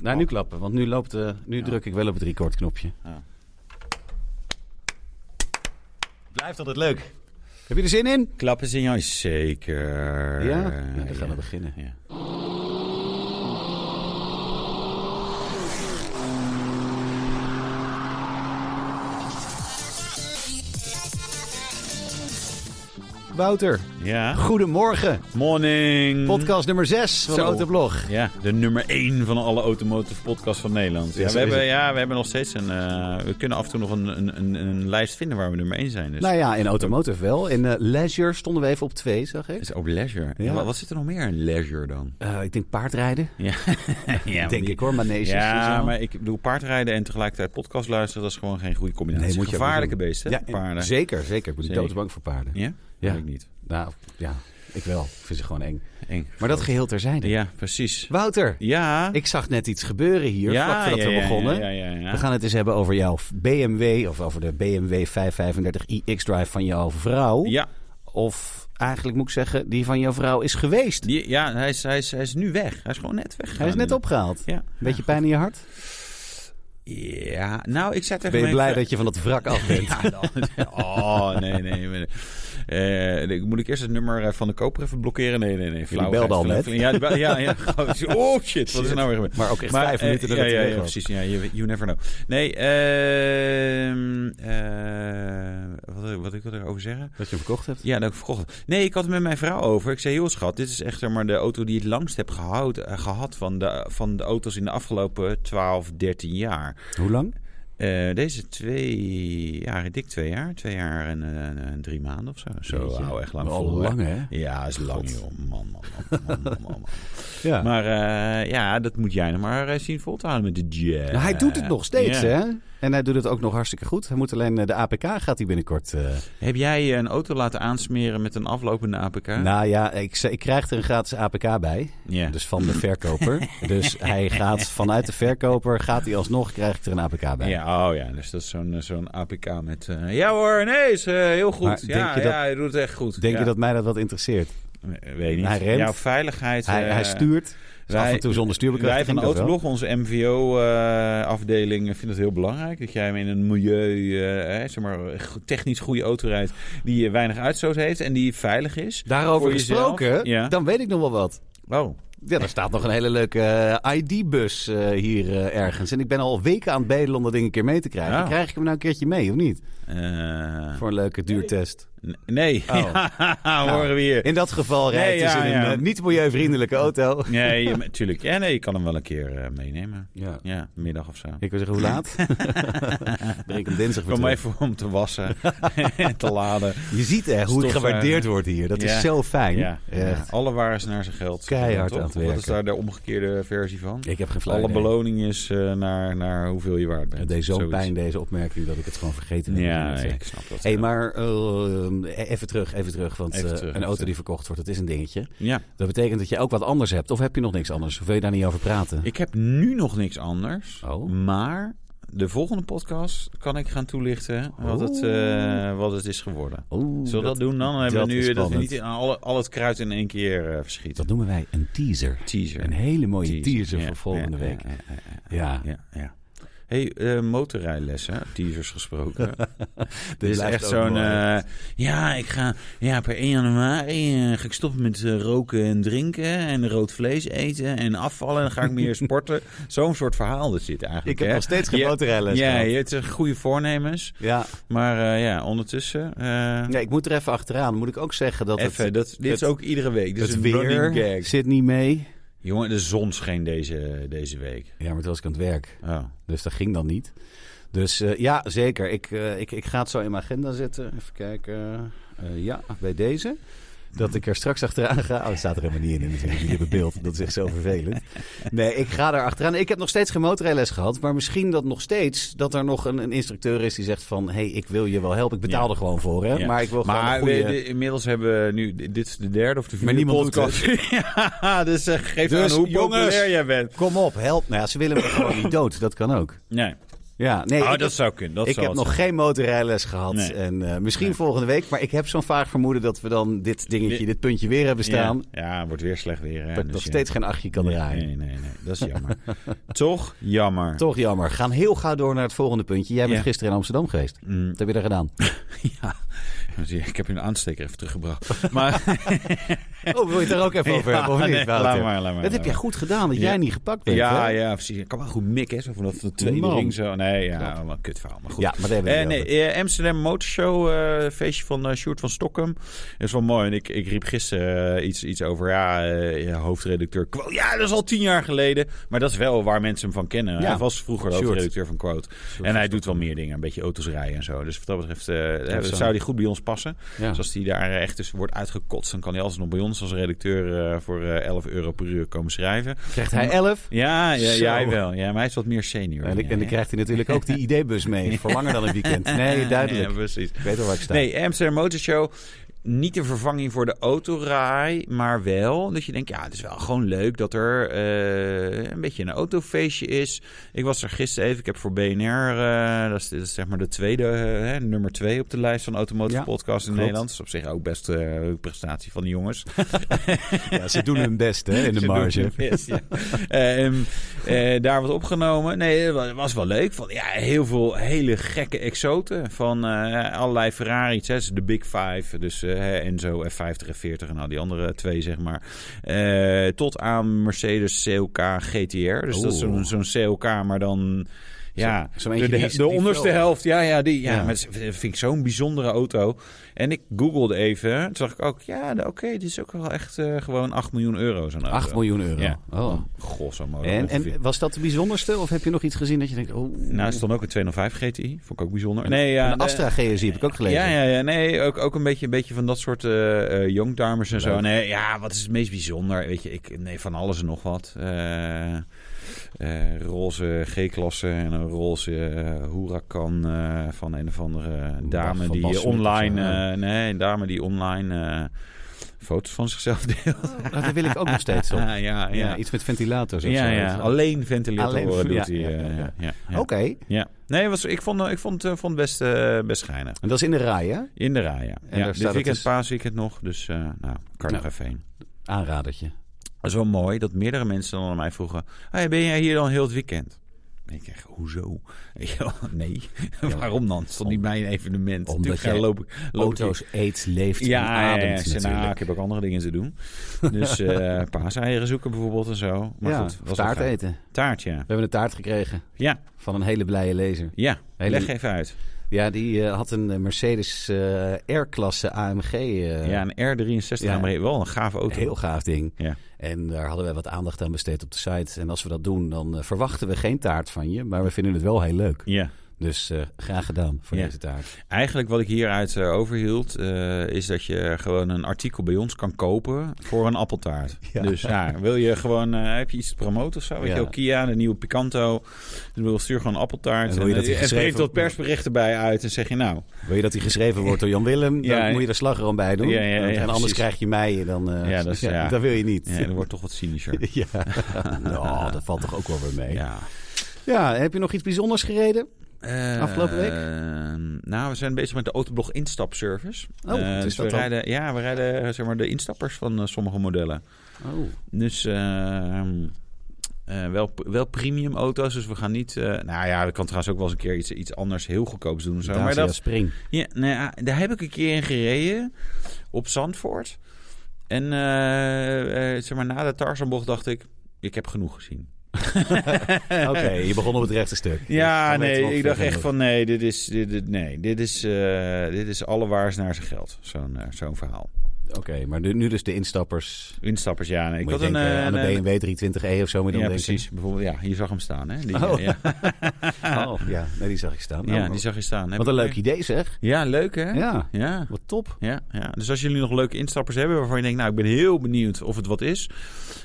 Nou, nu klappen, want nu, loopt, eh, nu Ja. druk ik wel op het recordknopje. Blijft altijd leuk. Heb je er zin in? Klappen zin jij zeker. Ja? Nou, dan gaan we beginnen. Ja. Wouter, ja. goedemorgen. Morning. Podcast nummer 6 van de Zo. Autoblog. Ja, de nummer 1 van alle automotive podcasts van Nederland. Ja, Ja, zo we, is hebben, het. ja, we hebben nog steeds een... eh, we kunnen af en toe nog een, een, een, een lijst vinden waar we nummer 1 zijn. Dus Nou ja, in Automotive wel. In eh, Leisure stonden we even op 2, zag ik. is ook leisure. Ja. Ja. wat, wat zit er nog meer in leisure dan? Eh, ik denk paardrijden, Ja, ja denk ik hoor, maneges en Ja, zo. maar ik bedoel, paardrijden en tegelijkertijd podcast luisteren, dat is gewoon geen goede combinatie. Nee, moet je ook Gevaarlijke niet doen. beesten, Ja, en- paarden. Zeker, zeker. Ik ben Zeker. doodsbang voor paarden. Ja? Ja. ja? Ik niet. Nou, ja, ik wel. Ik vind ze gewoon eng. Eng. Maar dat geheel terzijde. Ja, precies. Wouter, Ja. ik zag net iets gebeuren hier, ja, vlak voordat ja, we ja, begonnen. Ja, ja, ja. We gaan het eens hebben over jouw BMW, of over de BMW 535iX E Drive van jouw vrouw. Ja, Of eigenlijk moet ik zeggen, die van jouw vrouw is geweest. die, ja hij, is, hij, is, hij is nu weg. Hij is gewoon net weg. Hij is net opgehaald. Ja. Beetje pijn in je hart? Ja, nou, ik zei tegen Ben mijn je blij vrouw- dat je van dat wrak af bent? Ja, dan- oh, nee, nee. nee. Eh, ik- moet ik eerst het nummer eh, van de koper even blokkeren? Nee, nee, nee. flauw belden al net. Ja, die bel- ja, ja. Oh shit, wat is er nou weer gebeurd? Maar ook echt vijf eh, minuten ja, dat het ja, weg ja, was. precies. Ja, you, you never know. Nee, ehm, eh, wat, wat ik wil erover zeggen? Dat je hem verkocht hebt? Ja, dat ik verkocht. Nee, ik had het met mijn vrouw over. Ik zei, joh schat, dit is echt zeg maar, de auto die ik het langst heb gehouden, eh, gehad van de, van de auto's in de afgelopen 12, 13 jaar. Hoe lang? Eh, deze twee jaar, dik twee jaar. Twee jaar en, eh, en drie maanden of zo. Zo Jeetje. hou echt lang Wel vol. hè? lang, hè? Ja, is lang joh. Man, man, man, man, man, man, man. Ja. Maar eh, ja, dat moet jij nog maar eh, zien vol te houden met de jazz. Nou, hij doet het nog steeds, Ja. hè? En hij doet het ook nog hartstikke goed. Hij moet alleen eh, de APK gaat hij binnenkort. eh, Heb jij een auto laten aansmeren met een aflopende APK? Nou ja, ik, ze- ik krijg er een gratis APK bij. ja. Dus van de verkoper. dus hij gaat vanuit de verkoper, gaat hij alsnog, krijg ik er een APK bij. Ja, oh ja, dus dat is zo'n eh, zo'n APK met... eh, ja hoor, nee, is eh, heel goed. Maar denk ja, je dat- ja, hij doet het echt goed. Denk Ja. je dat mij dat wat interesseert? Nee, Weet niet. Hij rent. Jouw veiligheid... Hij, eh, hij stuurt. Dus af en toe zonder Wij van stuurbekrachtiging. dat wel. Autoblog, onze eh, MVO-afdeling, vinden het heel belangrijk dat jij hem in een milieu, eh, hè, zeg maar, go- technisch goede auto rijdt, die eh, weinig uitstoot heeft en die veilig is. Daarover Voor jezelf, gesproken, ja. dan weet ik nog wel wat. Oh, Ja, er staat nog een hele leuke eh, ID-bus eh, hier eh, ergens. En ik ben al weken aan het bedelen om dat ding een keer mee te krijgen. Ja. Krijg ik hem nou een keertje mee, of niet? eh, Voor een leuke duurtest. n- nee, Oh. Nou. horen we hier. In dat geval Nee, rijdt hij ja, dus in een ja. eh, niet milieuvriendelijke auto. Nee, je- natuurlijk. Ja, nee, je kan hem wel een keer eh, meenemen. Ja. Ja, middag of zo. Ik wil zeggen, hoe laat? Breng ik hem dinsdag weer Kom terug. even om te wassen en te laden. Je ziet hè, hoe het Stofzuigen. gewaardeerd wordt hier. Dat eh, is Ja. zo fijn. Ja, ja. Echt. alle waar is naar zijn geld. Keihard Toch? aan het Wat werken. is daar de omgekeerde versie van? Ik heb geen flauw Alle idee. beloning is eh, naar, naar hoeveel je waard bent. Het deed zo'n Zoiets. pijn, deze opmerking, dat ik het gewoon vergeten heb. Ja, Dat nee, zei. ik snap dat. Hé, maar eh, even terug, even terug. Want Even eh, terug, een even auto terug. die verkocht wordt, dat is een dingetje. Ja, Dat betekent dat je ook wat anders hebt. Of heb je nog niks anders? Of wil je daar niet over praten? ik Mm. heb nu nog niks anders. Oh. Maar de volgende podcast kan ik gaan toelichten wat het, eh, wat het is geworden. Oeh, Zullen we dat, doen dan? Dan hebben dat we is nu dat we spannend. niet in al, al het kruid in één keer eh, verschieten. dat noemen wij een teaser. teaser. Een hele mooie teaser, Ja, voor volgende ja, week. Ja, ja, Ja, ja, ja, ja. hey, eh, motorrijlessen, teasers gesproken. Dit is blijft echt ook zo'n... mooi. eh, ja, ik ga ja, per 1 januari eh, ga ik stoppen met eh, roken en drinken en rood vlees eten en afvallen en dan ga ik meer sporten. Zo'n soort verhaal is dit eigenlijk. ik heb hè? nog steeds geen Ja, motorrijles Ja, gehad. je hebt eh, goede voornemens, Ja, maar eh, ja, ondertussen... eh, nee, ik moet er even achteraan. Moet ik ook zeggen dat het, even, dat, dit het- is ook iedere week. Dit is het een weer running gag. zit niet mee. Jongen, de zon scheen deze, deze week. Ja, maar toen was ik aan het werk. Oh. Dus dat ging dan niet. Dus eh, ja, zeker. Ik, eh, ik, ik ga het zo in mijn agenda zetten. Even kijken. Eh, ja, bij deze. Dat ik er straks achteraan ga. Oh, dat staat er helemaal niet in. in natuurlijk. Jullie hebben beeld. Dat is echt zo vervelend. Nee, ik ga er achteraan. Ik heb nog steeds geen motorrijles gehad. Maar misschien dat nog steeds. Dat er nog een, een instructeur is die zegt van... Hé, hey, ik wil je wel helpen. Ik betaal Ja. er gewoon voor. Hè? Ja. Maar ik wil gewoon Maar een goede... we- de- inmiddels hebben we nu... Dit is de derde of de vierde niemand doet podcast. ja, dus eh, geef Dus, aan hoe jongens. populair jij bent. Kom op, help. Nou ja, ze willen me gewoon niet dood. Dat kan ook. Nee. Ja, nee, oh, ik- dat zou kunnen. Dat ik zou heb het nog geen motorrijles gehad. Nee. En eh, misschien Nee. volgende week. Maar ik heb zo'n vaag vermoeden dat we dan dit dingetje, Dit- dit puntje weer hebben zijn. staan. Ja, ja, wordt weer slecht weer. Hè? dat Dus nog ja. steeds geen achtje kan nee, draaien. Nee, nee, nee. Dat is jammer. Toch jammer. Toch jammer. Gaan heel gauw door naar het volgende puntje. Jij bent Ja. gisteren in Amsterdam geweest. Mm, Wat heb je daar gedaan? ja, ik heb je een aansteker even teruggebracht. Maar, Oh, wil je het daar ook even over Ja, hebben? Of niet, nee, Wouter? laat maar, laat maar. Dat heb jij laat goed gedaan, dat Ja. jij niet gepakt maar. bent. Ja, hè? ja, precies. Ik kan wel goed mikken, hè, zo vanaf de tweede Man. ring zo. Nee, ja, Knap. wel een kut verhaal, maar goed. Ja, maar daar hebben Eh, we het niet nee, over. eh, Amsterdam Motor Show, eh, feestje van eh Sjoerd van Stockholm. Dat is wel mooi. En ik, ik riep gisteren eh, iets, iets over, ja, eh, ja, hoofdredacteur Quote. Ja, dat is al tien jaar geleden. Maar dat is wel waar mensen hem van kennen. Ja. Hij was vroeger de Sjoerd. hoofdredacteur van Quote. en hij doet wel meer dingen, een beetje auto's rijden en zo. Dus wat dat betreft eh, Dat is zo. zou die goed bij ons passen. Ja. Dus als die daar echt dus wordt uitgekotst, dan kan hij altijd nog bij ons als redacteur eh, voor eh, 11 euro per uur komen schrijven. Krijgt hij 11? Ja, ja, Zo. ja hij wel. Ja, maar hij is wat meer senior. En, ik- en Ja, dan krijgt hij natuurlijk ook die ID-bus mee. Voor langer dan een weekend. Nee, duidelijk. Ja, precies. Ik weet al waar ik sta. Nee, Amsterdam Motor Show. Niet een vervanging voor de autorij, maar wel dat je denkt, ja, het is wel gewoon leuk dat er eh, een beetje een autofeestje is. Ik was er gisteren even, ik heb voor BNR, eh, dat, is, dat is zeg maar de tweede, eh, hè, nummer twee op de lijst van Automotive Ja, Podcast in klopt. Nederland. Dat is op zich ook best eh, een prestatie van de jongens. Ja, ze doen hun best hè, in de Ze marge. doen hun best, ja. Ehm, eh, daar wat opgenomen. Nee, het wa- was wel leuk. Van, ja, heel veel hele gekke exoten. Van eh, allerlei Ferrari's. Hè. De Big Five. Dus eh, hè, Enzo F50 en 40 en al die andere twee, zeg maar. Eh, tot aan Mercedes CLK GTR. Dus dat is Oeh. zo'n zo'n CLK, maar dan... Ja, Zo- zo'n de, eentje de, die- de die onderste veel- helft. Ja, ja, die, ja, Ja. maar dat vind ik zo'n bijzondere auto. En ik googelde even. Toen zag ik ook, ja, oké, dit is ook wel echt eh, gewoon 8 miljoen euro zo'n auto. 8 miljoen euro. Ja. Oh. Goh, motor En, ongeveer. en was dat de bijzonderste? Of heb je nog iets gezien dat je denkt... Oh, nou, er stond ook een 205 GTI. Vond ik ook bijzonder. Nee, ja, een de- Astra GSI heb ik ook gelezen. Ja, ja, ja. Nee, ook, ook een, beetje, een beetje van dat soort eh eh, youngtimers en zo. Nee, ja, wat is het meest bijzonder? Weet je, ik, nee, van alles en nog wat. Eh, eh, roze G-klasse en een roze eh Huracan eh, van een of andere dame van die Bas Smit online... of zo, ja. eh, nee, een dame die online eh, foto's van zichzelf deelt. Nou, Daar wil ik ook nog steeds op. Ah, ja, Ja, ja. iets met ventilators of Ja, zo. ja. alleen ventilatoren Alleen- doet ja, hij. ja, eh, ja, Ja, ja. ja, Oké. Ja. Nee, was, ik vond, ik vond, eh, vond het best, eh, best schijnig. En dat is in de rij, hè? In de rij, ja. En ja daar dit staat het weekend, dus- paasweekend nog. Dus, eh nou, kan er nog even heen. Aanradertje. Dat is wel mooi dat meerdere mensen dan aan mij vroegen... Hey, ben jij hier dan heel het weekend? En ik zeg, hoezo? Weet je wel, nee, waarom dan? Het stond niet bij een evenement. Omdat Natuurlijk jij ga- loop ik- loop ik- Auto's, eet, leeft en ja, ja, ja, ademt Ik zei, nou, natuurlijk. ik heb ook andere dingen te doen. Dus eh paaseieren zoeken bijvoorbeeld en zo. Maar ja, goed, was wel taart gaaf. eten. We Taart, ja. hebben een taart gekregen Ja, van een hele blije lezer. ja. Hele- leg even uit. Ja, die eh, had een eh, Mercedes eh, R-klasse AMG. eh, ja, een R63 ja. AMG, wel een gave auto. Heel gaaf ding. Ja. En daar hadden wij wat aandacht aan besteed op de site. En als we dat doen, dan eh, verwachten we geen taart van je. Maar we vinden het wel heel leuk. Ja, Dus eh, graag gedaan voor Ja. deze taart. eigenlijk wat ik hieruit eh, overhield, eh, is dat je gewoon een artikel bij ons kan kopen voor een appeltaart. Ja. Dus ja, wil je gewoon, eh, heb je iets te promoten of zo? Weet Ja. je wel, Kia, de nieuwe Picanto. Dus wil stuur gewoon een appeltaart. En wil je dat die en geschreven geef dat persberichten bij uit en zeg je nou, Wil je dat die geschreven wordt door Jan Willem? Ja, dan ja. moet je er slagroom bij doen. Ja, ja, ja, en ja, anders precies. krijg je mij. Dan, eh, Ja, dat is- ja. wil je niet. ja, dat wordt toch wat cynischer. Ja, nou, dat valt toch ook wel weer mee. Ja. Ja. heb je nog iets bijzonders gereden? Eh, Afgelopen week? eh, nou, we zijn bezig met de Autoblog instapservice. Oh, wat Eh, is dus dat we dan? rijden, Ja, we rijden eh, zeg maar, de instappers van eh, sommige modellen. Oh, Dus eh, eh, wel, wel premium auto's. Dus we gaan niet. eh, nou ja, dat kan trouwens ook wel eens een keer iets, iets anders heel goedkoops doen. of Zo. Maar dat, Spring. ja, nou ja, daar heb ik een keer in gereden op Zandvoort. En eh, eh, zeg maar, na de Tarzanbocht dacht ik: ik heb genoeg gezien. Oké, je begon op het rechte stuk. Ja, Dan weten we nee, of ik we dacht gaan echt doen. van nee, dit is, dit, dit- nee, dit is, eh dit is allewaars naar zijn geld. Zo'n eh, zo'n verhaal. Oké, maar nu, nu dus de instappers. Instappers, ja. nee, ik Moet je had een, denken eh, aan een- de BMW 320e E of zo. Moet je ja, dan denken. precies. Bijvoorbeeld, ja, hier zag hem staan. Hè? Die, Oh. eh, ja, Oh, ja, nee, die zag ik staan. Nou, ja, die zag je staan. Heb Wat ik een weer. leuk idee zeg. Ja, leuk hè? Ja, Ja. wat top. Ja, ja. dus als jullie nog leuke instappers hebben waarvan je denkt, nou ik ben heel benieuwd of het wat is,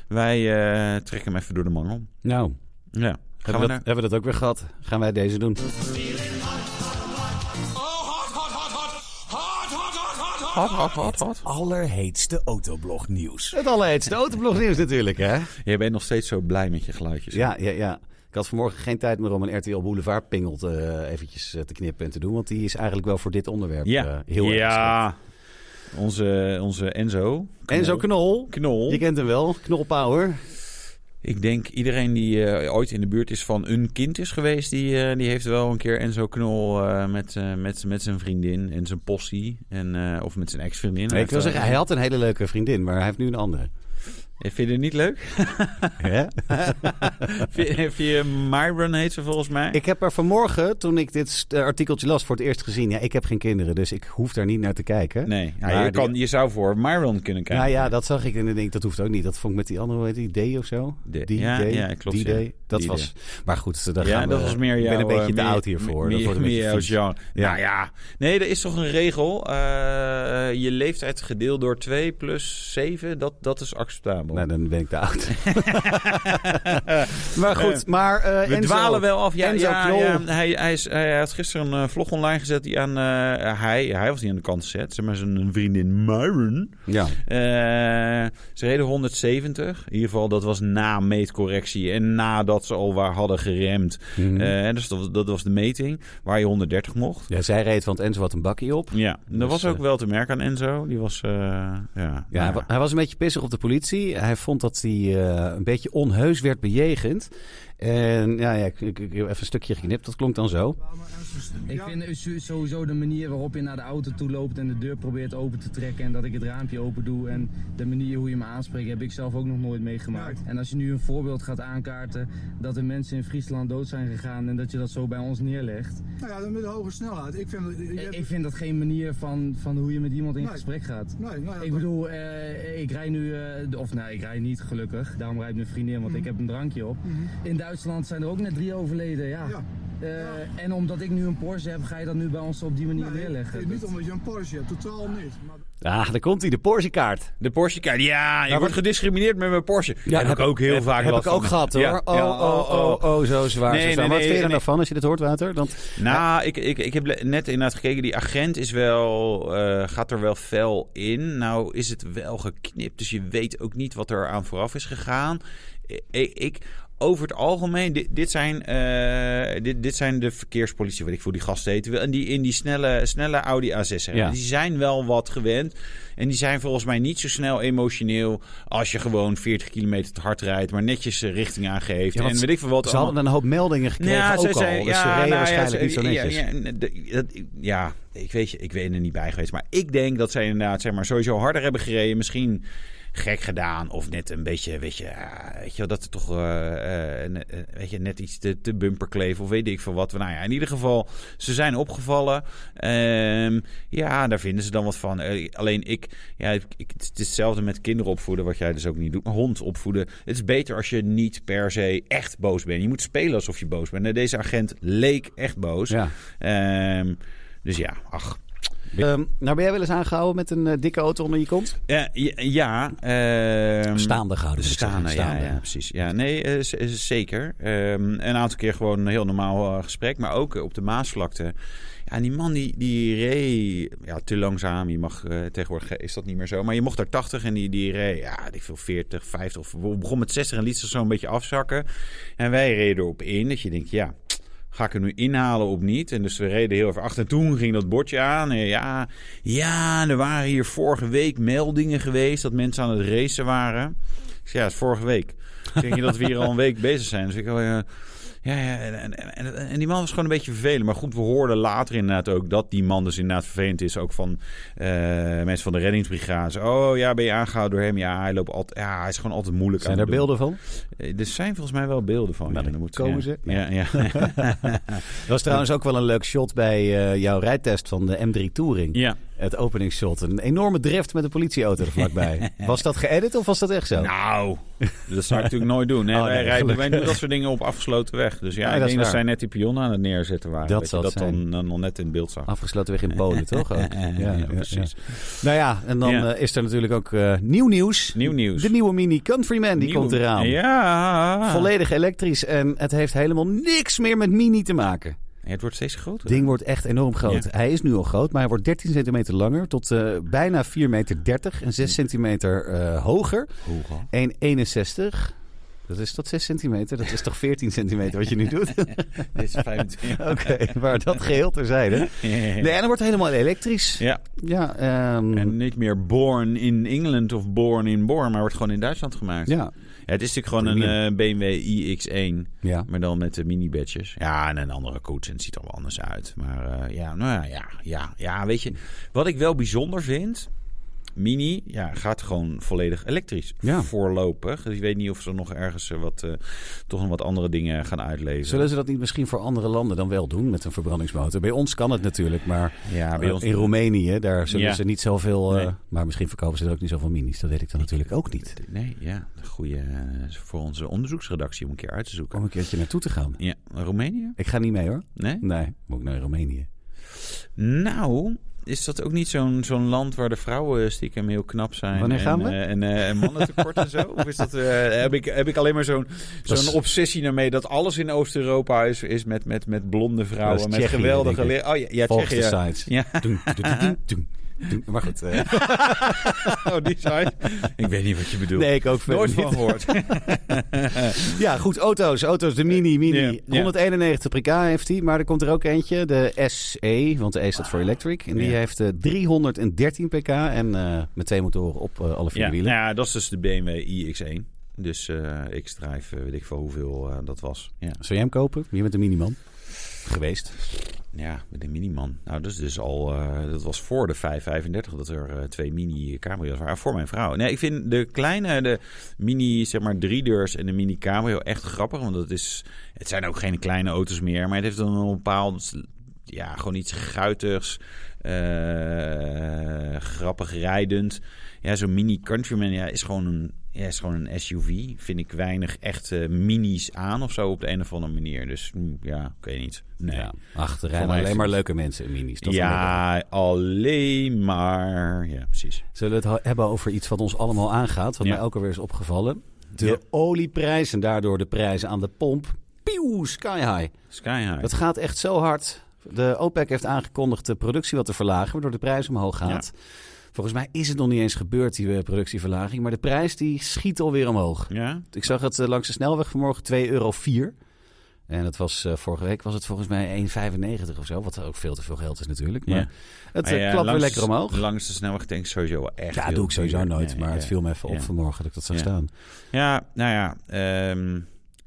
wij eh, trekken hem even door de mangel. Nou, Ja, gaan hebben we we, naar. dat, hebben we dat ook weer gehad? Gaan wij deze doen? Hot, hot, hot, hot. Allerheetste autoblog nieuws. Het allerheetste autoblog nieuws natuurlijk, hè? Je bent nog steeds zo blij met je geluidjes. Ja, ja, ja. Ik had vanmorgen geen tijd meer om een RTL Boulevard pingel te, eh, eventjes eh, te knippen en te doen. Want die is eigenlijk wel voor dit onderwerp eh, Ja, heel erg. geschikt. ja. Onze, onze Enzo. En zo knol. Knol. Je kent hem wel, knolpower. Ik denk iedereen die eh, ooit in de buurt is van een kind is geweest, die, eh, die heeft wel een keer Enzo Knol eh, met, eh, met, met zijn vriendin en zijn possie. En, eh, of met zijn ex-vriendin. ik wil zeggen, hij had een hele leuke vriendin, maar hij heeft nu een andere. Eh, Vind je het niet leuk? Ja? vind, je- vind je Myron heet ze volgens mij? Ik heb haar vanmorgen, toen ik dit st- eh, artikeltje las, voor het eerst gezien. Ja, ik heb geen kinderen, dus ik hoef daar niet naar te kijken. Nee, ja, Maar je, die- kan, je zou voor Myron kunnen kijken. Nou ja, dat zag ik en ik denk, dat hoeft ook niet. Dat vond ik met die andere, hoe heet die, D of zo? De- die ja, D, ja, klopt, Die ja. D. Dat Die was... Maar goed, daar Ja, gaan we... dat was meer ik jouw... ben een beetje eh, te meer- oud hiervoor. meer- dat wordt een beetje meer jouw vies. genre. Ja. Nou ja, nee, er is toch een regel. eh, je leeftijd gedeeld door 2 plus 7, dat, dat is acceptabel. Nou, dan ben ik te oud. maar goed, maar... eh We Enzo- dwalen wel af. Ja, Enzo ja, Knol. ja, hij, hij, is, hij had gisteren een eh, vlog online gezet die aan... eh, hij, hij was niet aan de kant gezet, maar zijn vriendin Myron. Ja. Eh, ze reden 170. In ieder geval, dat was na meetcorrectie en nadat ze al waar hadden geremd. Mhm. Eh, dus dat, dat was de meting waar je 130 mocht. ja, zij reed, want Enzo had een bakkie op. Ja, dat Dus, was ook eh, wel te merken aan Enzo. Die was, eh, ja, Ja, hij wa- hij was een beetje pissig op de politie. Hij vond dat hij eh, een beetje onheus werd bejegend. En ja, ja ik, ik, ik heb even een stukje geknipt, dat klonk dan zo. Ik vind su- sowieso de manier waarop je naar de auto toe loopt en de deur probeert open te trekken en dat ik het raampje open doe en de manier hoe je me aanspreekt heb ik zelf ook nog nooit meegemaakt. En als je nu een voorbeeld gaat aankaarten dat er mensen in Friesland dood zijn gegaan en dat je dat zo bij ons neerlegt. Nou ja, dan met de hoge snelheid. Ik vind... je Ik- hebt- Eh, Ik vind dat geen manier van, van hoe je met iemand in Nee. gesprek gaat. Nee, nou ja, Ik bedoel, eh, ik rij nu, eh, de- of nee, ik rij niet gelukkig. Daarom rijdt mijn vriendin, Mhm. want ik heb een drankje op. In Duitsland zijn er ook net drie overleden, ja. Ja. Eh, Ja. En omdat ik nu een Porsche heb, ga je dat nu bij ons op die manier nee, neerleggen. niet omdat je een Porsche hebt, totaal niet. Maar Ah, daar komt hij, de Porsche-kaart. De Porsche kaart. Ja, je wordt gediscrimineerd met mijn Porsche. Ja, heb ik ook heel heb, vaak Heb last ik ook van. gehad hoor. Ja, Oh, ja, oh, oh, oh, zo zwaar. Nee, zo zwaar. nee, Wat nee, vind je er nee. nou van als je dit hoort, Wouter? Want, Nou, ik, ik, ik heb le- net inderdaad gekeken. Die agent is wel, eh, gaat er wel fel in. Nou is het wel geknipt. Dus je weet ook niet wat er aan vooraf is gegaan. Ik, ik over het algemeen, dit, dit, zijn, eh, dit, dit zijn de verkeerspolitie, weet ik voor die gasten heten. En die in die snelle, snelle Audi A6 hebben. Ja. Die zijn wel wat gewend. En die zijn volgens mij niet zo snel emotioneel als je gewoon 40 kilometer te hard rijdt, maar netjes eh, richting aangeeft. Ja, want en weet ik veel wat. ze allemaal- hadden een hoop meldingen gekregen ook al. zei- dus ze reden nou ja, waarschijnlijk ze- niet zo netjes. Ja, ja, de- dat- ja, ik weet je, ik ben er niet bij geweest. Maar ik denk dat zij inderdaad zeg maar, sowieso harder hebben gereden. Misschien gek gedaan of net een beetje, weet je, ah, weet je wel, dat er toch eh, eh, ne- eh, weet je, net iets te, te bumperkleef of weet ik veel wat. Nou ja, in ieder geval, ze zijn opgevallen. Ehm, ja, daar vinden ze dan wat van. Eh, alleen ik, ja, ik, ik- het is hetzelfde met kinderen opvoeden, wat jij dus ook niet doet. Maar hond opvoeden. Het is beter als je niet per se echt boos bent. Je moet spelen alsof je boos bent. Nou, deze agent leek echt boos. Ja. Ehm, dus ja, ach. Ehm, nou, ben jij wel eens aangehouden met een eh, dikke auto onder je kont? Eh, ja, ja ehm, Staande gehouden. moet ik Staande, zeggen. ja, ja, precies. Ja, nee, eh, z- eh, zeker. Ehm, een aantal keer gewoon een heel normaal eh, gesprek, maar ook eh, op de Maasvlakte. Ja, en die man die, die reed ja, te langzaam. Je mag, eh, tegenwoordig eh, is dat niet meer zo. Maar je mocht daar 80 en die, die reed, ja, ik veel 40, 50. Of we- begon met 60 en liet ze zo een beetje afzakken. En wij reden erop in dat je denkt, ja... Ga ik er nu inhalen of niet? En dus we reden heel even achter. En toen ging dat bordje aan. En ja, ja, er waren hier vorige week meldingen geweest dat mensen aan het racen waren. Ik zei, ja, het is vorige week. Ik Denk je dat we hier al een week bezig zijn? Dus ik, oh, ja, ja, ja en, en, en, en die man was gewoon een beetje vervelend. Maar goed, we hoorden later inderdaad ook dat die man dus inderdaad vervelend is. Ook van eh, mensen van de reddingsbrigade. Zo, Oh ja, ben je aangehouden door hem? Ja, hij, loopt altijd, ja, hij is gewoon altijd moeilijk aan Zijn er het doen. beelden van? Eh, Er zijn volgens mij wel beelden van. Nou, ja, dan dan moet, komen ja. ze. Ja, ja. Dat was trouwens ook wel een leuk shot bij eh, jouw rijtest van de M3 Touring. ja. Het openingsshot. Een enorme drift met een politieauto er vlakbij. was dat geëdit of was dat echt zo? Nou, dat zou ik natuurlijk nooit doen. Nee, Oh, wij, nee, rijden, wij gelukkig. doen dat soort dingen op afgesloten weg. Dus ja, Nee, ik dat is denk dat waar. zij net die pionnen aan het neerzetten waren. Dat Dat, je, zal dat het zijn. dan, dan eh, nog net in beeld zag. Afgesloten weg in Polen, toch? Ook? Ja, precies. Nou ja, en dan Ja. eh, is er natuurlijk ook eh, nieuw nieuws. Nieuw nieuws. De nieuwe Mini Countryman, die Nieuw. komt eraan. Ja. Volledig elektrisch en het heeft helemaal niks meer met Mini te maken. Ja, Het wordt steeds groter. Het ding wordt echt enorm groot. Ja. Hij is nu al groot, maar hij wordt 13 centimeter langer tot eh, bijna 4,30 meter en 6 centimeter eh, hoger. Hoger. 1,61. Dat Dat is tot 6 centimeter. Dat is toch 14 centimeter wat je nu doet? Oké, Dit is 25. maar dat geheel terzijde. Nee, en dan wordt het helemaal elektrisch. Ja, Ja, ehm, en niet meer born in England of born in Born, maar wordt gewoon in Duitsland gemaakt. ja, Ja, het is natuurlijk gewoon een eh, BMW iX1, ja. maar dan met de mini-badges. Ja, en een andere koets en het ziet er wel anders uit. Maar eh, ja, nou ja, ja, ja, ja, weet je. Wat ik wel bijzonder vind, Mini ja, gaat gewoon volledig elektrisch Ja. voorlopig. Dus ik weet niet of ze nog ergens eh, wat, eh, toch nog wat andere dingen gaan uitlezen. Zullen ze dat niet misschien voor andere landen dan wel doen met een verbrandingsmotor? Bij ons kan het natuurlijk, maar Ja, bij eh, ons... in Roemenië, daar zullen Ja. ze niet zoveel... eh, Nee. maar misschien verkopen ze er ook niet zoveel minis. Dat weet ik dan natuurlijk ook niet. Nee, ja, een goede eh, voor onze onderzoeksredactie om een keer uit te zoeken. Om een keertje naartoe te gaan. Ja, Roemenië? Ik ga niet mee hoor. Nee? Nee, moet ik naar Roemenië. Nou, is dat ook niet zo'n zo'n land waar de vrouwen stiekem heel knap zijn? Wanneer gaan en, we? eh, en, eh, en mannen tekort en zo? Of is dat, eh, heb, ik, heb ik alleen maar zo'n Dat zo'n is- obsessie daarmee dat alles in Oost-Europa is, is met, met, met blonde vrouwen, Dat is met Tsjechië, geweldige... denk ik. le- Oh ja, ja Volgens de Tsjechië. sites. Ja, Doen, doen, doen, doen, doen. Maar goed. eh, oh, die site. ik weet niet wat je bedoelt. nee, ik ook verder Nooit niet. van gehoord. Ja, goed, auto's. Auto's, de Mini, Mini. Eh, Ja, ja. 191 pk heeft hij, maar er komt er ook eentje, de SE, want de E staat voor electric. En die Ah, Ja. heeft eh, 313 pk en eh met twee motoren op eh, alle vier ja, wielen. nou ja, dat is dus de BMW iX1. Dus eh ik schrijf, eh, weet ik veel hoeveel eh, dat was. Ja. Zou jij hem kopen? Je bent een miniman. Geweest. Ja, met de miniman. Nou, dat is dus al. eh, dat was voor de 535 dat er eh, twee mini cabrio's waren. Ah, Voor mijn vrouw. Nee, ik vind de kleine, de mini, zeg maar, driedeurs en de mini cabrio echt grappig. Want dat is. Het zijn ook geen kleine auto's meer. Maar het heeft dan een bepaald. Ja, gewoon iets guitigs. eh, grappig rijdend. Ja, zo'n mini Countryman ja, is gewoon een. Ja, is gewoon een SUV. Vind ik weinig echt eh, minis aan of zo op de een of andere manier. Dus mm, ja, ik weet niet. Nee. Ja, achterin Voor mij alleen is- maar leuke mensen in minis. Dat is wel leuk. Ja, alleen maar. Ja, precies. Zullen we het ho- hebben over iets wat ons allemaal aangaat, wat Ja. mij ook alweer is opgevallen? De Ja. olieprijs en daardoor de prijzen aan de pomp. Pieuw, sky high. Sky High. Dat gaat echt zo hard. De OPEC heeft aangekondigd de productie wat te verlagen, waardoor de prijs omhoog gaat. Volgens mij is het nog niet eens gebeurd, die eh, productieverlaging. Maar de prijs die schiet alweer omhoog. Ja? Ik zag het eh, langs de snelweg vanmorgen 2,04 euro. En dat was, eh, vorige week was het volgens mij 1,95 of zo. Wat ook veel te veel geld is natuurlijk. Maar Ja. het Maar eh, ja, klapt weer langs lekker de- omhoog. Langs de snelweg denk ik sowieso wel echt. Ja, heel doe ik sowieso duur. nooit. Nee, maar ja. het viel me even op ja. vanmorgen dat ik dat zag Ja. staan. Ja, nou ja. ehm,